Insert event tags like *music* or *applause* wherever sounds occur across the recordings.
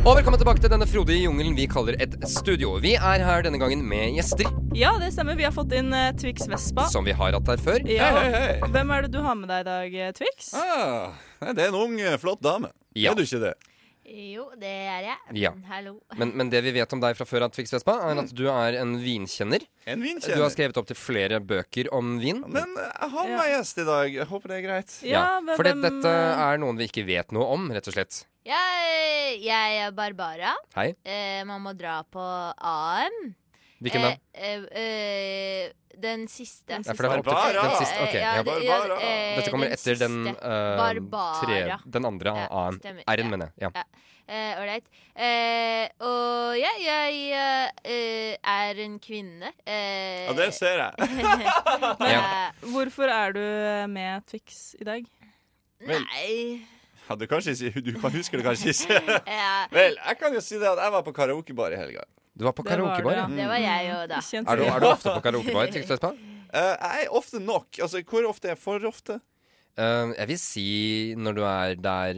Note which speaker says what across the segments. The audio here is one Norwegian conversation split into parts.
Speaker 1: Og velkommen tilbake til denne frodige jungelen vi kaller et studio. Vi er her denne gangen med gjester
Speaker 2: Ja, det stemmer. Vi har fått inn eh, Twix Vespa.
Speaker 1: som vi har hatt her før.
Speaker 2: Ja.
Speaker 3: Hei, hei, hei.
Speaker 2: Hvem er det du har med deg i dag, eh, Twix?
Speaker 3: Ah, nei, det er en ung, eh, flott dame.
Speaker 1: Ja.
Speaker 3: Er du ikke det?
Speaker 4: Jo, det er jeg.
Speaker 1: Ja.
Speaker 4: Hallo.
Speaker 1: Men, men det vi vet om deg fra før, at Twix Vespa, er at du er en vinkjenner.
Speaker 3: En
Speaker 1: Du har
Speaker 3: vinkjenner.
Speaker 1: skrevet opp til flere bøker om vin.
Speaker 3: Men eh, jeg har
Speaker 2: Ja.
Speaker 3: med meg gjest i dag. Jeg håper det er greit.
Speaker 2: Ja, men
Speaker 1: For det,
Speaker 2: hvem,
Speaker 1: dette
Speaker 2: eh,
Speaker 1: er noen vi ikke vet noe om, rett og slett.
Speaker 4: Jeg, eh, jeg er Barbara.
Speaker 1: Hei.
Speaker 4: Eh, man må dra på AM.
Speaker 1: Hvilken da?
Speaker 4: Eh, eh, eh, den siste.
Speaker 2: Den
Speaker 1: Ja, for det var opp til
Speaker 3: Barbara!
Speaker 1: den siste. Ok,
Speaker 4: Eh,
Speaker 1: ja.
Speaker 4: ja, det- ja,
Speaker 3: Barbara.
Speaker 4: eh,
Speaker 1: Dette kommer
Speaker 4: den
Speaker 1: etter den
Speaker 4: siste.
Speaker 1: eh,
Speaker 4: Barbara.
Speaker 1: tre- Den andre
Speaker 4: Ja,
Speaker 1: A-en.
Speaker 4: stemmer.
Speaker 1: R-en,
Speaker 4: Ja.
Speaker 1: mener jeg. Ja.
Speaker 4: Eh, Ålreit. Eh, og ja, jeg eh, eh, er en kvinne. Eh,
Speaker 3: Ja,
Speaker 4: *laughs*
Speaker 3: det ser jeg.
Speaker 4: eh,
Speaker 2: Hvorfor er du eh, med Twix i dag?
Speaker 3: Vel.
Speaker 4: Nei
Speaker 3: Ja, du, kanskje, ikke- du kan huske det kanskje ikke. *laughs*
Speaker 4: eh,
Speaker 3: Vel, jeg kan jo si det at jeg var på karaokebar i helga.
Speaker 1: Du var på
Speaker 2: Det var
Speaker 1: karaokebar,
Speaker 2: det,
Speaker 1: ja.
Speaker 2: ja.
Speaker 4: Det var jeg jo, da.
Speaker 2: Kjent
Speaker 1: Er du, er du ofte på karaokebar, Twix Vespa?
Speaker 3: Eh, jeg er ofte nok. Altså, hvor ofte er jeg for ofte?
Speaker 1: Eh, jeg vil si når du er der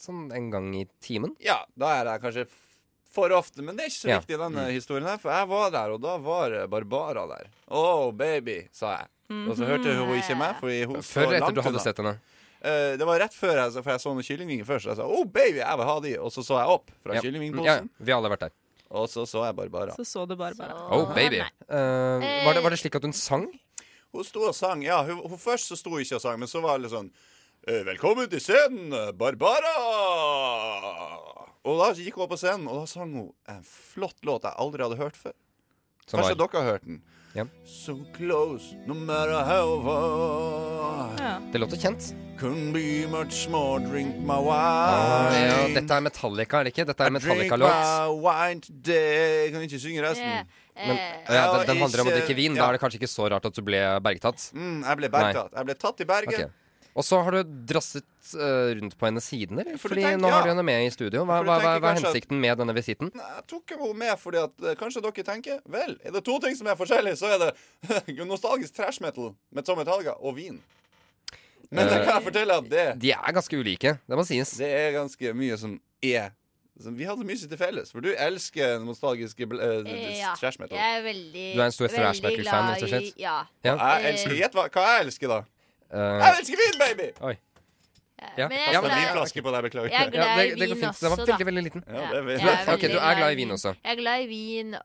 Speaker 1: sånn en gang i timen.
Speaker 3: Ja, da er jeg kanskje f- for ofte, men det er ikke så
Speaker 1: Ja.
Speaker 3: viktig i denne historien her, for jeg var der, og da var eh, Barbara der. Oh, baby, sa jeg.
Speaker 2: Mhm.
Speaker 3: Og så hørte hun ikke meg, for
Speaker 1: Før
Speaker 3: hun så
Speaker 1: eller
Speaker 3: langt
Speaker 1: etter du hadde
Speaker 3: unna.
Speaker 1: sett henne.
Speaker 3: Eh, det var rett før jeg, for jeg så noen kyllingvinger først. Så jeg sa oh, baby, jeg vil ha de. Og så så jeg opp fra
Speaker 1: Ja. Mm, ja,
Speaker 3: kyllingvingposen,
Speaker 1: vi alle har vært der.
Speaker 3: og så så jeg Barbara.
Speaker 2: Så så du bare bare.
Speaker 4: Så-
Speaker 1: Oh, baby.
Speaker 4: Ah, Nei.
Speaker 1: Eh, var, det, var det slik at hun sang?
Speaker 3: Hun sto og sang. Ja, hun, hun først så sto hun ikke og sang, men så var det litt sånn «Eh, Velkommen til scenen, Barbara! Og da gikk hun opp på scenen, og da sang hun en flott låt jeg aldri hadde hørt før.
Speaker 1: Som
Speaker 3: Kanskje
Speaker 1: var.
Speaker 3: dere har hørt den.
Speaker 1: Ja.
Speaker 3: So close, no matter how far.
Speaker 2: Ja.
Speaker 1: Det låter kjent.
Speaker 3: Couldn't be much more, drink my wine.
Speaker 1: Ah, ja, dette er Metallica, er det ikke? Dette er Metallica-låt.
Speaker 3: Drink my wine today Jeg kan ikke synge resten.
Speaker 4: Eh,
Speaker 1: Men,
Speaker 4: eh,
Speaker 1: ja, den, den handler om å
Speaker 3: Ikke-
Speaker 1: drikke vin. Da er det kanskje ikke så rart at du ble bergtatt.
Speaker 3: Mm, jeg ble
Speaker 1: Nei.
Speaker 3: bergtatt. Jeg ble tatt i Bergen.
Speaker 1: Ok. Og så har du drasset eh, rundt på hennes siden, eller?
Speaker 3: For du
Speaker 1: Fordi
Speaker 3: tenker-
Speaker 1: nå har du
Speaker 3: ja.
Speaker 1: henne med i studio. Hva,
Speaker 3: For du
Speaker 1: hva, hva,
Speaker 3: tenker
Speaker 1: hva er
Speaker 3: kanskje at-
Speaker 1: hensikten med denne visitten?
Speaker 3: Nei, Jeg tok henne med fordi at eh, kanskje dere tenker Vel, er det to ting som er forskjellig, så er det *laughs* nostalgisk trash metal med Tom Metallica og vin. Men
Speaker 1: Eh.
Speaker 3: det kan jeg fortelle at det,
Speaker 1: De er ganske ulike, det må sies.
Speaker 3: det er ganske mye som er som Vi hadde mye til felles, for du elsker nostalgiske
Speaker 4: eh,
Speaker 3: uh,
Speaker 4: ja.
Speaker 3: trash metal.
Speaker 4: Jeg er veldig
Speaker 1: Du er en stor thrash
Speaker 4: veldig
Speaker 1: metal-fan,
Speaker 4: glad
Speaker 1: rett og slett?
Speaker 4: i- Ja.
Speaker 3: Jeg elsker, Gjett hva, hva jeg elsker, da.
Speaker 1: Eh,
Speaker 3: Jeg elsker vin, baby!
Speaker 1: Ja.
Speaker 4: Men jeg er
Speaker 1: Ja,
Speaker 3: Det
Speaker 1: men
Speaker 3: var
Speaker 4: glad-
Speaker 3: min flaske på deg, beklager.
Speaker 4: Jeg er
Speaker 1: ja,
Speaker 4: glad i
Speaker 1: det, det går
Speaker 4: vin
Speaker 1: fint. Den var
Speaker 4: også, da.
Speaker 1: veldig, veldig liten.
Speaker 3: Ja, det vet
Speaker 4: jeg er
Speaker 3: jeg.
Speaker 1: Ok,
Speaker 4: veldig
Speaker 1: du er glad i
Speaker 4: i
Speaker 1: vin også.
Speaker 4: Jeg er glad i vin og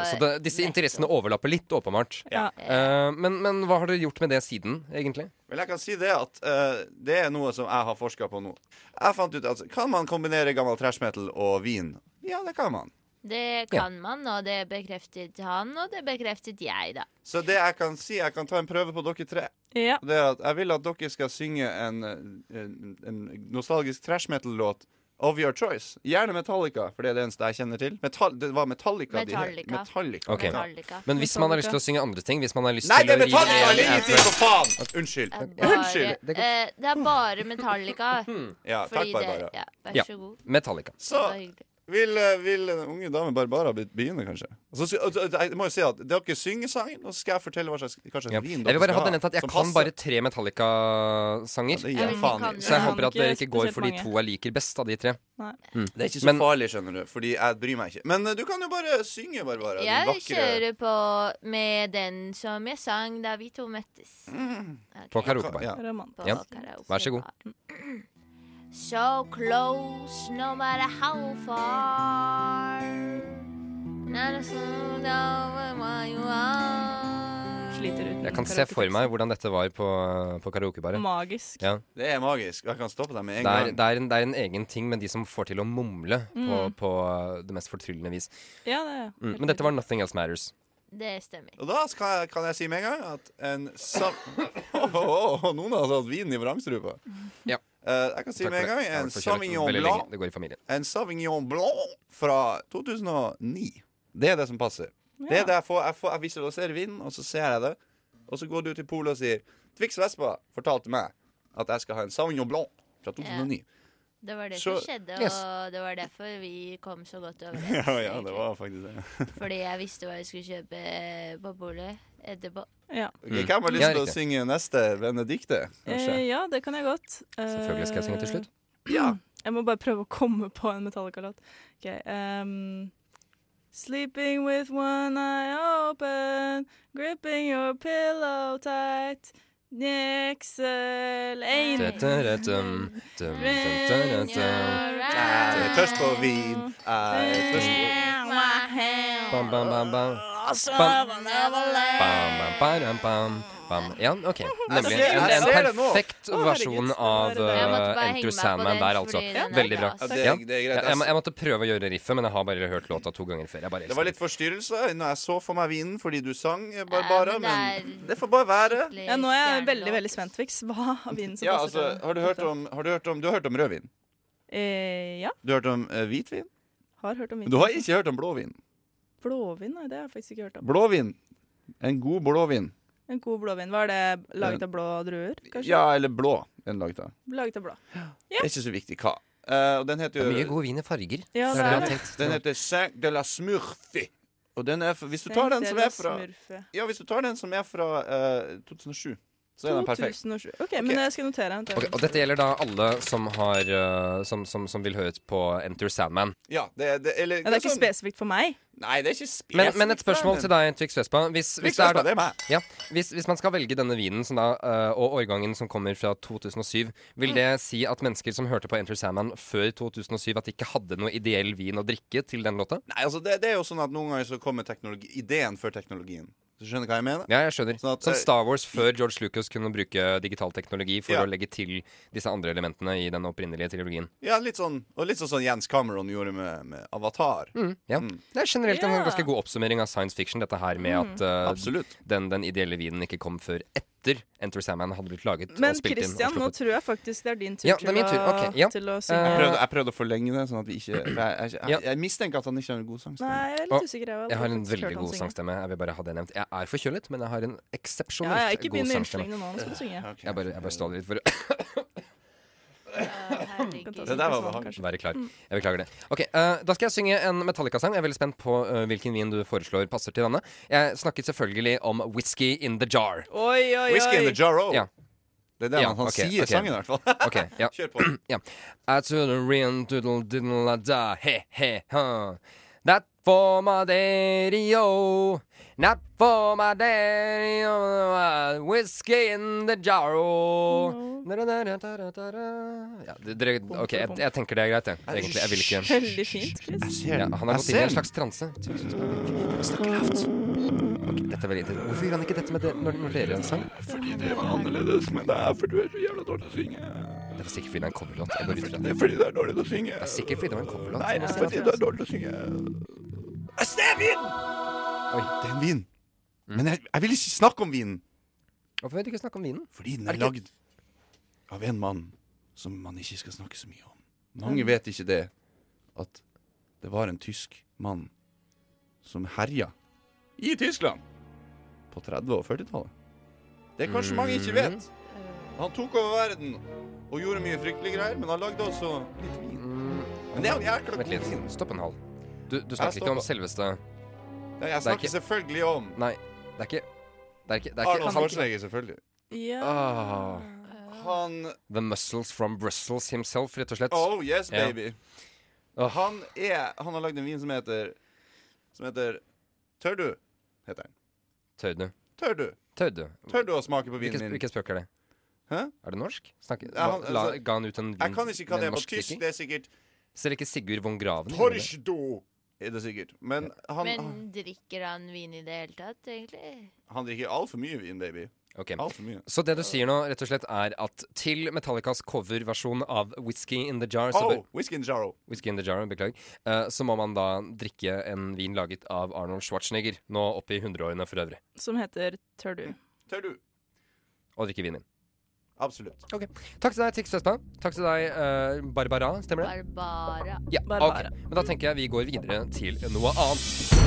Speaker 1: Ok, så det, disse interessene overlapper litt, åpenbart.
Speaker 2: Ja.
Speaker 1: Eh, men, men hva har du gjort med det siden, egentlig?
Speaker 3: Vel, jeg kan si det at eh, det er noe som jeg har forska på nå. Jeg fant ut at Kan man kombinere gammel trash metal og vin? Ja, det kan man.
Speaker 4: Det kan man, og det bekreftet han, og det bekreftet jeg, da.
Speaker 3: Så det jeg kan si, jeg kan ta en prøve på dere tre.
Speaker 2: ja.
Speaker 3: Det er at Jeg vil at dere skal synge en, eh, en, en nostalgisk trash metal-låt of your choice. Gjerne Metallica, for det er det eneste jeg kjenner til. Metall, det var Metallica. de het.
Speaker 4: Metallica.
Speaker 3: Metallica.
Speaker 1: Ok.
Speaker 4: Metallica.
Speaker 1: Men hvis man har lyst til å synge andre ting Hvis man har lyst
Speaker 3: Nei,
Speaker 1: til
Speaker 3: det
Speaker 1: å
Speaker 3: er Metallica!
Speaker 4: rive-
Speaker 1: rive-
Speaker 3: Ingenting, for faen! Unnskyld.
Speaker 4: Det er bare,
Speaker 3: Unnskyld!
Speaker 1: det går-
Speaker 4: eh, det er bare
Speaker 1: *laughs*
Speaker 4: Metallica.
Speaker 3: Ja, takk,
Speaker 4: fordi
Speaker 3: Barbara.
Speaker 4: Det, ja,
Speaker 1: Ja.
Speaker 4: vær så god.
Speaker 1: Metallica.
Speaker 3: Så
Speaker 4: Det var hyggelig.
Speaker 3: Vil, vil den unge dame Barbara be- begynne, kanskje? Og så, sy- og, og, jeg må jo si at Dere synger sangen, og så skal jeg fortelle hva slags, hva slags
Speaker 1: Ja.
Speaker 3: vin
Speaker 1: Jeg
Speaker 3: dere
Speaker 1: vil bare
Speaker 3: skal
Speaker 1: ha den at jeg
Speaker 3: som
Speaker 1: kan
Speaker 3: passer.
Speaker 1: bare tre Metallica-sanger.
Speaker 3: Ja, det
Speaker 4: Jeg
Speaker 3: gir
Speaker 4: vil
Speaker 3: jeg
Speaker 4: ikke
Speaker 3: faen
Speaker 4: ha
Speaker 3: i.
Speaker 4: den.
Speaker 1: Så jeg
Speaker 2: Ja,
Speaker 1: håper at
Speaker 2: ikke
Speaker 1: dere ikke går
Speaker 2: spesielt
Speaker 1: for de
Speaker 2: mange.
Speaker 1: to jeg liker best av de tre. Mm.
Speaker 2: Nei.
Speaker 3: Det er ikke så
Speaker 1: Men-
Speaker 3: farlig, skjønner du, Fordi jeg bryr meg ikke. Men eh, du kan jo bare synge, Barbara. din
Speaker 4: Jeg
Speaker 3: vakre-
Speaker 4: kjører på med den som jeg sang da vi to møttes.
Speaker 3: Mm.
Speaker 4: Ok.
Speaker 1: På karaokebar.
Speaker 3: Ja.
Speaker 2: Romantisk.
Speaker 1: Ja.
Speaker 4: karaoke.
Speaker 1: Vær så god.
Speaker 4: So close, no matter how far. Not a soul, knowing where you are.
Speaker 2: Sliter uten
Speaker 1: Jeg kan se
Speaker 2: karaoke-tekst.
Speaker 1: for meg hvordan dette var på, på karaokebaret.
Speaker 2: Magisk.
Speaker 1: Ja.
Speaker 3: Det er magisk. Og jeg kan stoppe deg med en
Speaker 1: Det er,
Speaker 3: gang.
Speaker 1: det, er en, det er en egen ting med de som får til å mumle på,
Speaker 2: Mm.
Speaker 1: på det mest fortryllende vis.
Speaker 2: Ja, det er
Speaker 1: Mm. Men dette var Nothing Else Matters.
Speaker 4: Det stemmer.
Speaker 3: Og da skal jeg, kan jeg si med en gang at en sam... *laughs* Åh, åh, åh, noen har tatt vin i vrangstrupa.
Speaker 1: Ja.
Speaker 3: Eh, jeg kan si
Speaker 1: Takk
Speaker 3: med
Speaker 1: for det.
Speaker 3: en gang
Speaker 1: Jeg har
Speaker 3: en
Speaker 1: vært forkjølet
Speaker 3: Sauvignon
Speaker 1: veldig
Speaker 3: Blanc
Speaker 1: lenge. Det går i familien.
Speaker 3: En Sauvignon Blanc fra 2009. Det er det som passer. Det er det jeg får. Jeg, får, jeg visualiserer vinden, og så ser jeg det. Og så går du til polet og sier Twix Vespa fortalte meg at jeg skal ha en Sauvignon Blanc fra 2009.
Speaker 4: Det var det
Speaker 3: Så-
Speaker 4: som skjedde,
Speaker 1: Yes.
Speaker 4: og det var derfor vi kom så godt overens. egentlig.
Speaker 3: faktisk det.
Speaker 4: Fordi jeg visste hva jeg skulle kjøpe eh, på polet etterpå.
Speaker 2: Ja.
Speaker 3: hvem har lyst
Speaker 1: Ja,
Speaker 3: til å
Speaker 1: riktig.
Speaker 3: synge neste Benedicte,
Speaker 2: Eh,
Speaker 3: kanskje?
Speaker 2: ja, det kan jeg godt. Eh,
Speaker 1: Selvfølgelig skal jeg synge til slutt.
Speaker 3: Ja.
Speaker 2: Jeg må bare prøve å komme på en Metallica-låt. Ok, ehm, Sleeping with one eye open, gripping your pillow tight, Nixel aim.
Speaker 4: Nei.
Speaker 1: mm, Bam,
Speaker 3: Jeg er tørst på
Speaker 4: Nei.
Speaker 3: vin. Jeg er tørst på
Speaker 1: bam, bam, bam. Bam, bam, bam, bam, bam. Ja, OK. Nemlig.
Speaker 3: ser- jeg
Speaker 1: En, en
Speaker 3: ser det nå.
Speaker 1: perfekt
Speaker 2: Å, herregud.
Speaker 1: versjon av
Speaker 2: Jeg måtte
Speaker 1: uh,
Speaker 4: Jeg måtte bare henge
Speaker 1: Enter
Speaker 4: meg på
Speaker 1: Sandman
Speaker 4: den,
Speaker 1: der, altså.
Speaker 4: fordi den er
Speaker 1: Veldig bra.
Speaker 4: ass.
Speaker 3: ja, det,
Speaker 1: Ja.
Speaker 3: det er greit.
Speaker 1: Jeg, jeg, må-
Speaker 3: ass.
Speaker 1: jeg måtte prøve å gjøre riffet, men jeg har bare hørt låta to ganger før. Jeg bare
Speaker 3: Det
Speaker 1: elsker
Speaker 3: var litt forstyrrelse når jeg så for meg vinen fordi du sang, eh, Barbara,
Speaker 4: Ja, men det
Speaker 3: men
Speaker 4: er-
Speaker 3: det får bare være.
Speaker 2: Ja, nå er jeg veldig veldig spent, Vix. Hva av vinen som
Speaker 3: Ja, altså,
Speaker 2: passer til
Speaker 3: har du hørt om, har du hørt om, du har hørt om rødvin?
Speaker 2: eh, Ja,
Speaker 3: Du har hørt om eh, hvitvin?
Speaker 2: har hørt om vin.
Speaker 3: Men du har ikke hørt om blåvin.
Speaker 2: Blåvin? Nei, det har jeg faktisk ikke hørt om.
Speaker 3: Blåvin. En god blåvin.
Speaker 2: En god blåvin. Var det laget av blå druer? Kanskje?
Speaker 3: Ja, eller blå. Den lagde jeg.
Speaker 2: Laget av blå.
Speaker 3: Det er ikke så viktig hva. Eh, og den heter
Speaker 1: Det er mye
Speaker 3: jo
Speaker 1: god vin i farger.
Speaker 2: Ja,
Speaker 1: Det er
Speaker 2: det
Speaker 1: bra
Speaker 2: er det.
Speaker 1: tenkt.
Speaker 3: Den heter Saint de la Smurfy. Og den er, fra- hvis du tar den som er fra
Speaker 2: Smurfe.
Speaker 3: Ja, hvis du tar den som er fra eh, 2007, så er den perfekt.
Speaker 2: 2007. OK, men jeg skal notere. den.
Speaker 1: Ok, og dette gjelder da alle som, har, eh, som, som, som vil høre på Enter Sandman.
Speaker 3: Ja, det, er- det, eller,
Speaker 2: Ja, det er ikke
Speaker 3: sånn-
Speaker 2: spesifikt for meg.
Speaker 3: Nei, det er ikke spesifikt.
Speaker 1: Men, men et spørsmål til deg, Twix Vespa. Hvis, hvis, det er da,
Speaker 3: det er meg.
Speaker 1: ja, hvis, hvis man skal velge denne vinen som da, eh, og årgangen som kommer fra 2007, vil det
Speaker 3: Mm.
Speaker 1: si at mennesker som hørte på Enter Sandman før 2007, at de ikke hadde noe ideell vin å drikke til den låta?
Speaker 3: Nei, altså det, det er jo sånn at Noen ganger så kommer teknologi, ideen før teknologien. Så skjønner du hva jeg mener?
Speaker 1: Ja, jeg skjønner.
Speaker 3: Sånn at,
Speaker 1: Som
Speaker 3: eh,
Speaker 1: Star Wars før George Lucas kunne bruke digital teknologi for
Speaker 3: Ja.
Speaker 1: å legge til disse andre elementene i den opprinnelige trilogien.
Speaker 3: Ja, litt sånn, Og litt sånn som Jens Cameron gjorde med, med Avatar.
Speaker 1: Mm, ja.
Speaker 3: Mm.
Speaker 1: Det er generelt en
Speaker 2: Ja.
Speaker 1: ganske god oppsummering av science fiction, dette her med at eh,
Speaker 3: Absolutt.
Speaker 1: den, den ideelle vinen ikke kom før etter Enter Sandman hadde blitt laget
Speaker 2: Men
Speaker 1: og spilt
Speaker 2: Christian,
Speaker 1: inn.
Speaker 2: nå
Speaker 1: Og sluppet.
Speaker 2: tror jeg faktisk det er din tur,
Speaker 1: Ja, det er min tur.
Speaker 2: Til, å,
Speaker 1: Ok, ja. Eh,
Speaker 2: til å
Speaker 3: Jeg
Speaker 2: synge.
Speaker 3: prøvde, jeg prøvde å forlenge det, sånn at vi ikke for Jeg, jeg, jeg,
Speaker 1: Ja.
Speaker 3: jeg, mistenker at han ikke har en god
Speaker 2: Nei,
Speaker 3: sangstemme.
Speaker 2: jeg er
Speaker 1: Å,
Speaker 2: litt usikker. Jeg,
Speaker 1: Jeg har en
Speaker 2: faktisk hørt
Speaker 1: veldig
Speaker 2: han
Speaker 1: god
Speaker 2: synge.
Speaker 1: sangstemme. Jeg vil bare ha det nevnt. Jeg er forkjølet, men jeg har en
Speaker 2: Ja,
Speaker 1: eksepsjonelt
Speaker 2: ja, ikke
Speaker 1: god
Speaker 2: begynn med
Speaker 1: sangstemme.
Speaker 2: unnskyldningene nå. Nå skal du synge.
Speaker 3: Ok.
Speaker 1: Jeg bare, jeg bare står litt for
Speaker 2: *laughs*
Speaker 3: Det der var behagelig.
Speaker 1: å *coughs* være
Speaker 2: Mm.
Speaker 1: klar. Jeg beklager det. Ok, eh, Da skal jeg synge en Metallica-sang. Jeg er veldig spent på eh, hvilken vin du foreslår passer til denne. Jeg snakket selvfølgelig om Whisky in the Jar.
Speaker 2: Oi, oi,
Speaker 3: Whisky in
Speaker 2: oi.
Speaker 3: the Jarro.
Speaker 1: Ja.
Speaker 3: Det er det
Speaker 1: Ja,
Speaker 3: han, han
Speaker 1: ok,
Speaker 3: sier i
Speaker 1: ok.
Speaker 3: sangen, i hvert fall.
Speaker 1: Ok, ja
Speaker 3: *laughs* Kjør på.
Speaker 1: Yeah. I took a real doodle diddle la da, he he huh. Not for my daddy, oh. Not for my daddy, oh. Whiskey in the jar, oh. Da-da-da-da-da-da. Ja, det- dere, ok, jeg, jeg tenker det er greit, jeg. Egentlig, jeg vil ikke
Speaker 2: Veldig fint,
Speaker 1: *laughs*
Speaker 2: Chris.
Speaker 1: ja, Han har gått inn i en slags transe.
Speaker 3: Tusen takk. lavt.
Speaker 1: Ok, dette er veldig interessant. Hvorfor gjorde han ikke dette med det, når, når dere sang?
Speaker 3: Fordi det var annerledes, men det er fordi du er så jævla dårlig til å synge.
Speaker 1: Det er sikkert fordi det er en coverlåt. Jeg går ut fra
Speaker 3: Det
Speaker 1: det.
Speaker 3: er fordi det er dårlig til å synge.
Speaker 1: Det er sikkert fordi det var en coverlåt.
Speaker 3: Nei, det er fordi det er dårlig til å synge. Jeg ser vin! Oi, det er en vin.
Speaker 1: Mm.
Speaker 3: Men jeg, jeg vil ikke snakke om vinen,
Speaker 1: Hvorfor vil du ikke snakke om vinen?
Speaker 3: fordi den
Speaker 1: Er
Speaker 3: er
Speaker 1: det
Speaker 3: lagd av en mann som man ikke skal snakke så mye om. Mange vet ikke det, at det var en tysk mann som herja i Tyskland på 30- og 40-tallet. Det er kanskje mange ikke vet. Han tok over verden og gjorde mye fryktelige greier, men han lagde også litt vin.
Speaker 1: Mm,
Speaker 3: Men det er jo jækla
Speaker 1: Vent
Speaker 3: god
Speaker 1: litt.
Speaker 3: vin.
Speaker 1: Stopp en hal. Du, du snakker ikke om selveste
Speaker 3: Nei, jeg snakker
Speaker 1: ikke-
Speaker 3: selvfølgelig om
Speaker 1: Nei, det er ikke Det er ikke, det er ikke
Speaker 3: Arnold Schwarzenegger, selvfølgelig.
Speaker 2: Ja.
Speaker 1: Ah.
Speaker 3: Han
Speaker 1: The Muscles from Brussels himself, rett og slett.
Speaker 3: Oh yes,
Speaker 1: Ja.
Speaker 3: baby.
Speaker 1: Åh.
Speaker 3: Han er Han har lagd en vin som heter Som heter Tør du? heter den.
Speaker 1: Tør du?
Speaker 3: Tør du?
Speaker 1: Tør du?
Speaker 3: Tør du å smake på
Speaker 1: Hvilket
Speaker 3: vinen min?
Speaker 1: hvilket språk er det?
Speaker 3: Hæ?
Speaker 1: Er det norsk? Snakker,
Speaker 3: Ja, han-
Speaker 1: la, la,
Speaker 3: altså,
Speaker 1: ga han ut en vin
Speaker 3: Jeg kan ikke hva
Speaker 1: med
Speaker 3: det er på
Speaker 1: norsk
Speaker 3: tysk.
Speaker 1: drikking?
Speaker 3: Det er sikkert
Speaker 1: Ser ikke Sigurd von Graven gjøre det?
Speaker 3: Torschdo, er det sikkert. Men han,
Speaker 4: Men
Speaker 3: han,
Speaker 4: drikker han vin i det hele tatt, egentlig?
Speaker 3: han drikker altfor mye vin, baby.
Speaker 1: Ok.
Speaker 3: Altfor mye.
Speaker 1: Så det du sier nå, rett og slett, er at til Metallicas coverversjon av Whisky in the Jar så
Speaker 3: Oh,
Speaker 1: bør-
Speaker 3: whisky and jarro.
Speaker 1: Whisky in the Jar, beklager. eh, så må man da drikke en vin laget av Arnold Schwarzenegger, nå oppe i hundreårene for øvrig,
Speaker 2: Som heter Tør du.
Speaker 3: Tør du?
Speaker 1: og drikke vin din.
Speaker 3: Absolutt.
Speaker 1: Takk til deg, Tix Vespa. Takk til deg, eh, Barbara. Stemmer det?
Speaker 4: Barbara.
Speaker 1: Ja,
Speaker 2: Barbara.
Speaker 1: ok. Men da tenker jeg vi går videre til noe annet.